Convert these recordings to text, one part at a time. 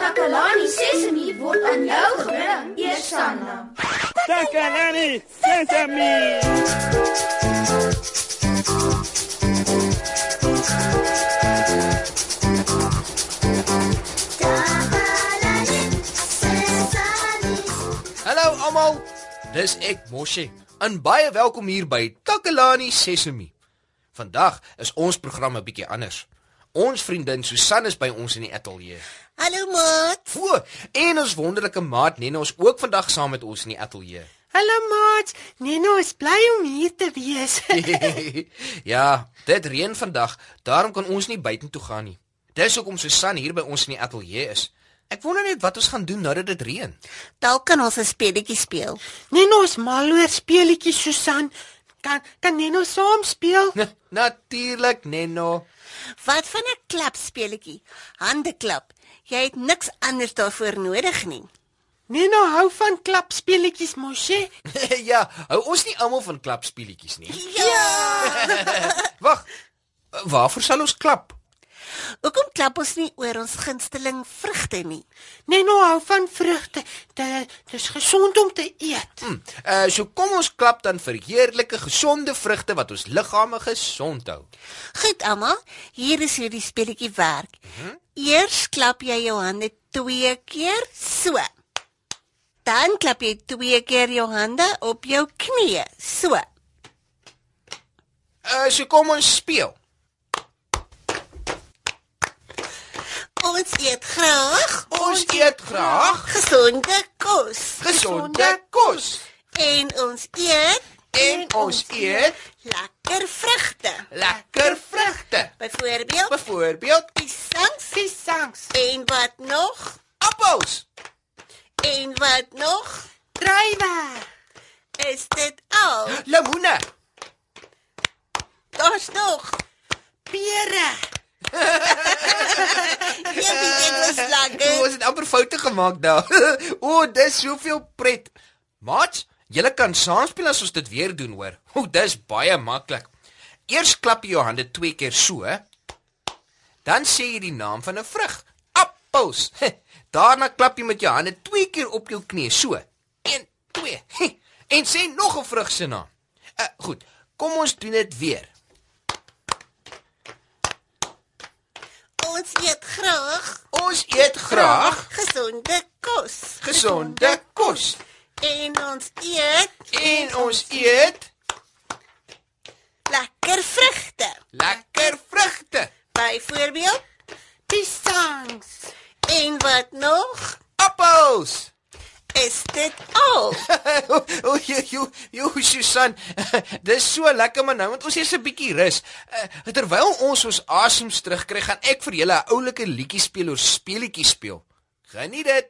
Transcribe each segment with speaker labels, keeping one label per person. Speaker 1: Takalani Sesemi word aan jou gebring, Eersanna.
Speaker 2: Takalani Sesame.
Speaker 3: Hallo almal. Dis ek Moshi. En baie welkom hier by Takalani Sesemi. Vandag is ons program 'n bietjie anders. Ons vriendin Susan is by ons in die ateljee.
Speaker 4: Hallo maat.
Speaker 3: O, en ons wonderlike maat Nena is ook vandag saam met ons in die ateljee.
Speaker 4: Hallo maat. Neno is bly om hier te wees.
Speaker 3: ja, dit reën vandag, daarom kan ons nie buitentoe gaan nie. Dis hoekom Susan hier by ons in die ateljee is. Ek wonder net wat ons gaan doen nou dat dit reën.
Speaker 4: Dalk kan ons 'n speletjie speel.
Speaker 5: Neno is mal oor speletjies Susan. Kan kan Neno saam speel?
Speaker 3: Natuurlik, Neno.
Speaker 4: Wat van 'n klap speletjie? Hande klap. Jy het niks anders daarvoor nodig nie.
Speaker 5: Neno hou van klap speletjies mosie.
Speaker 3: ja, hou ons nie almal van klapspeletjies nie.
Speaker 4: Ja.
Speaker 3: Wag. Waarvoor sal ons klap?
Speaker 4: Hoekom klap ons nie oor ons gunsteling vrugte nie?
Speaker 5: Neno hou van vrugte. Dit is gesond om te eet.
Speaker 3: Hm, uh so kom ons klap dan vir heerlike gesonde vrugte wat ons liggame gesond hou.
Speaker 4: Goed almal, hier is hoe die speletjie werk. Eers klap jy jou hande 2 keer so. Dan klap jy 2 keer jou hande op jou knieë, so.
Speaker 3: Uh so kom ons speel.
Speaker 4: Ons eet graag
Speaker 3: Ons eet graag
Speaker 4: gesonde kos
Speaker 3: gesonde kos
Speaker 4: en ons eet
Speaker 3: en ons eet
Speaker 4: lekker vrugte.
Speaker 3: lekker vrugte.
Speaker 4: Byvoorbeeld
Speaker 3: Byvoorbeeld
Speaker 4: piesangs
Speaker 5: Piesangs,
Speaker 4: en wat nog?
Speaker 3: appels.
Speaker 4: En wat nog?
Speaker 5: drywe,
Speaker 4: Is dit al?
Speaker 3: Lemoene.
Speaker 4: Daar's nog.
Speaker 5: pere.
Speaker 4: Jy weet dit was
Speaker 3: O,
Speaker 4: lekker.
Speaker 3: ons het amper foute gemaak daar. o, dis soveel pret. Maat, julle kan saam speel as ons dit weer doen hoor. O, dis baie maklik. Eers klap jy jou hande twee keer so. Dan sê jy die naam van 'n vrug. Appels. Daarna klap jy met jou hande twee keer op jou knie so. 1 2. En sê nog 'n vrug se naam. Uh, goed, kom ons doen dit weer.
Speaker 4: Ons eet graag
Speaker 3: Ons eet graag
Speaker 4: gesonde kos
Speaker 3: gesonde kos
Speaker 4: en ons eet
Speaker 3: en ons eet
Speaker 4: lekker vrugte.
Speaker 3: Lekker vrugte,
Speaker 4: Byvoorbeeld
Speaker 5: Piesangs.
Speaker 4: en wat nog?
Speaker 3: appels.
Speaker 4: Is dit al?
Speaker 3: o, o, jo, jo, jo, Susan, dis so lekker maar nou want ons is 'n bietjie rus. Uh, terwyl ons ons asems terugkry, gaan ek vir julle 'n oulike liedjie speel oor speletjies speel. Geniet dit.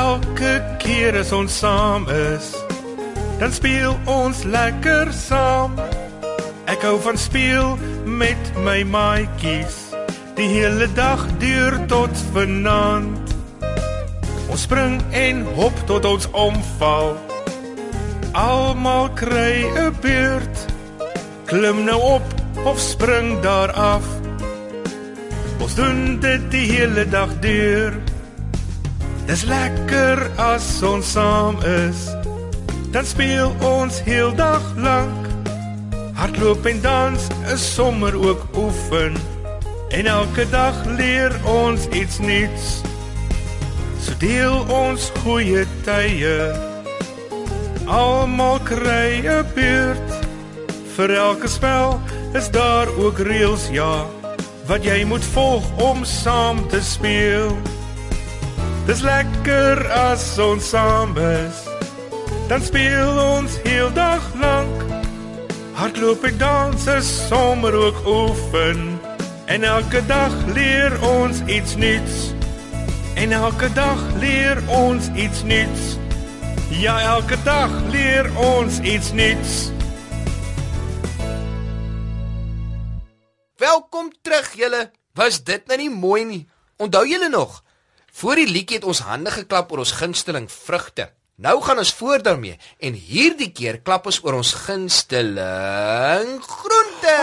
Speaker 2: Elke keer as ons saam is, dan speel ons lekker saam. Ek hou van speel met my maatjies die hele dag deur tot vanaand. Ons spring en hop tot ons omval. Almal kry 'n beurt. Klim nou op of spring daar af. Ons doen dit die hele dag deur. Dis lekker as ons saam is. Dan speel ons heel dag lank. Hardloop en dans is sommer ook oefen. En elke dag leer ons iets nuuts. So deel ons goeie tye. Almal kry 'n beurt. Vir elke spel is daar ook reëls ja, wat jy moet volg om saam te speel. Dis lekker as ons saam is. Dan speel ons heel dag lank. Hardloop en dans is sommer ook oefen. En elke dag leer ons iets nuuts. En elke dag leer ons iets nuuts. Ja, elke dag leer ons iets nuuts.
Speaker 3: Welkom terug julle. Was dit nou nie mooi nie? Onthou julle nog? Voor die liedjie het ons hande geklap oor ons gunsteling vrugte. Nou gaan ons voort daarmee en hierdie keer klap ons oor ons gunsteling groente.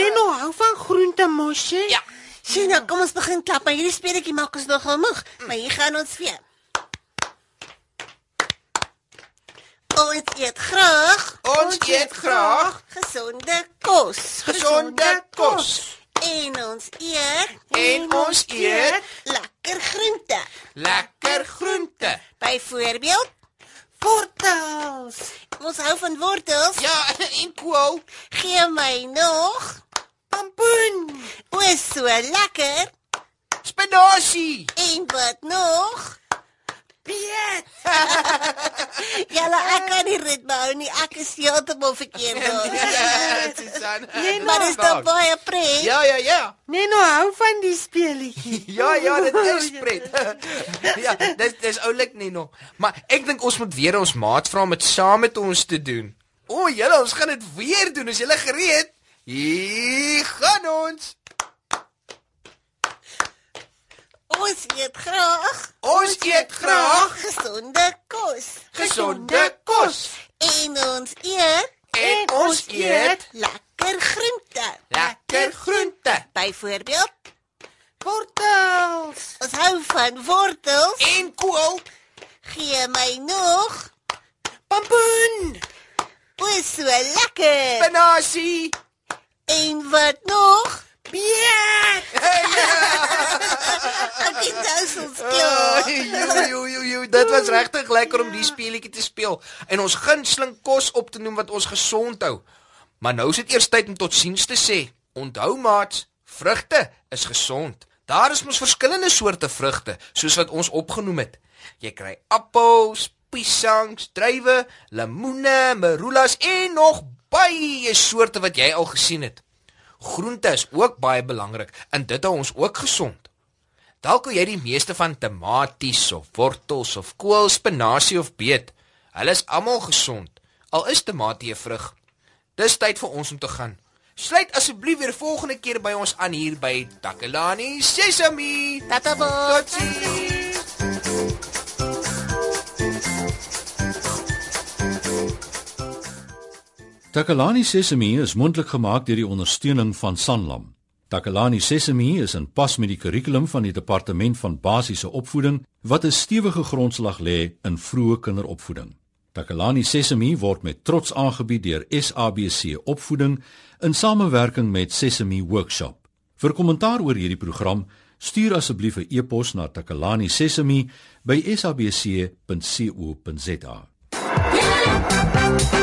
Speaker 5: Neno hou van groente mosie.
Speaker 3: Ja.
Speaker 4: Sien nou, kom ons begin klap. Maar hierdie speletjie maak ons nogal moeg, maar hier gaan ons weer. Ons eet graag.
Speaker 3: Ons eet graag
Speaker 4: gesonde kos.
Speaker 3: gesonde kos
Speaker 4: En ons eet
Speaker 3: en ons eet
Speaker 4: lekker groente.
Speaker 3: lekker groente.
Speaker 4: Byvoorbeeld,
Speaker 5: Wortels.
Speaker 4: ons hou van wortels.
Speaker 3: Ja, en kool.
Speaker 4: Gee my nog.
Speaker 5: Pampoen.
Speaker 4: O, is so lekker.
Speaker 3: Spinasie.
Speaker 4: En wat nog?
Speaker 5: Piet.
Speaker 4: Julle ek kan nie ritme hou nie. Ek is heeltemal verkeerd daar.
Speaker 3: Ja, Susan.
Speaker 4: Maar is daar baie pret?
Speaker 3: Ja, ja, ja.
Speaker 5: Neno hou van die Oh, speletjie.
Speaker 3: Ja ja, dit is pret. ja, dis dis oulik nie nog. Maar ek dink ons moet weer ons maat vra om dit saam met ons te doen. O, julle, ons gaan dit weer doen. Is julle gereed? Hier gaan ons.
Speaker 4: Ons eet graag
Speaker 3: Ons eet graag
Speaker 4: gesonde kos.
Speaker 3: gesonde kos
Speaker 4: En ons eet
Speaker 3: en ons eet
Speaker 4: lekker groente.
Speaker 3: Ja. lekker groente
Speaker 4: Byvoorbeeld,
Speaker 5: Wortels.
Speaker 4: ons hou van wortels.
Speaker 3: en kool.
Speaker 4: Gee my nog.
Speaker 5: Pampoen.
Speaker 4: O, is so lekker.
Speaker 3: Spinasie.
Speaker 4: En wat nog?
Speaker 5: Piet.
Speaker 4: Ek het nou so
Speaker 3: Ah,
Speaker 4: klaar.
Speaker 3: Jo jo jo jo, dit was regtig lekker om die speletjie te speel en ons gunsteling kos op te noem wat ons gesond hou. Maar nou is dit eers tyd om totsiens te sê. Onthou maat, vrugte is gesond. Daar is mos verskillende soorte vrugte, soos wat ons opgenoem het. Jy kry appels, piesangs, druiwe, lemoene, marulas en nog baie soorte wat jy al gesien het. Groente is ook baie belangrik en dit hou ons ook gesond. Dalk hou jy die meeste van tamaties of wortels of kool, spinasie of beet. Hulle is almal gesond, al is tamatie 'n vrug. Dis tyd vir ons om te gaan. Sluit asseblief weer volgende keer by ons aan hier by Takelani Sesami.
Speaker 4: Tata bye.
Speaker 3: Totsiens.
Speaker 6: Takalani Sesemi is mondelik gemaak deur die ondersteuning van Sanlam. Takalani Sesemi is in pas met die kurrikulum van die Departement van Basiese Opvoeding wat 'n stewige grondslag lê in vroeë kinderopvoeding. Takalani Sesemi word met trots aangebied deur SABC Opvoeding in samewerking met Sesemi Workshop. Vir kommentaar oor hierdie program, stuur asseblief 'n e-pos na takalani_sesemi@sabc.co.za.
Speaker 1: Yeah.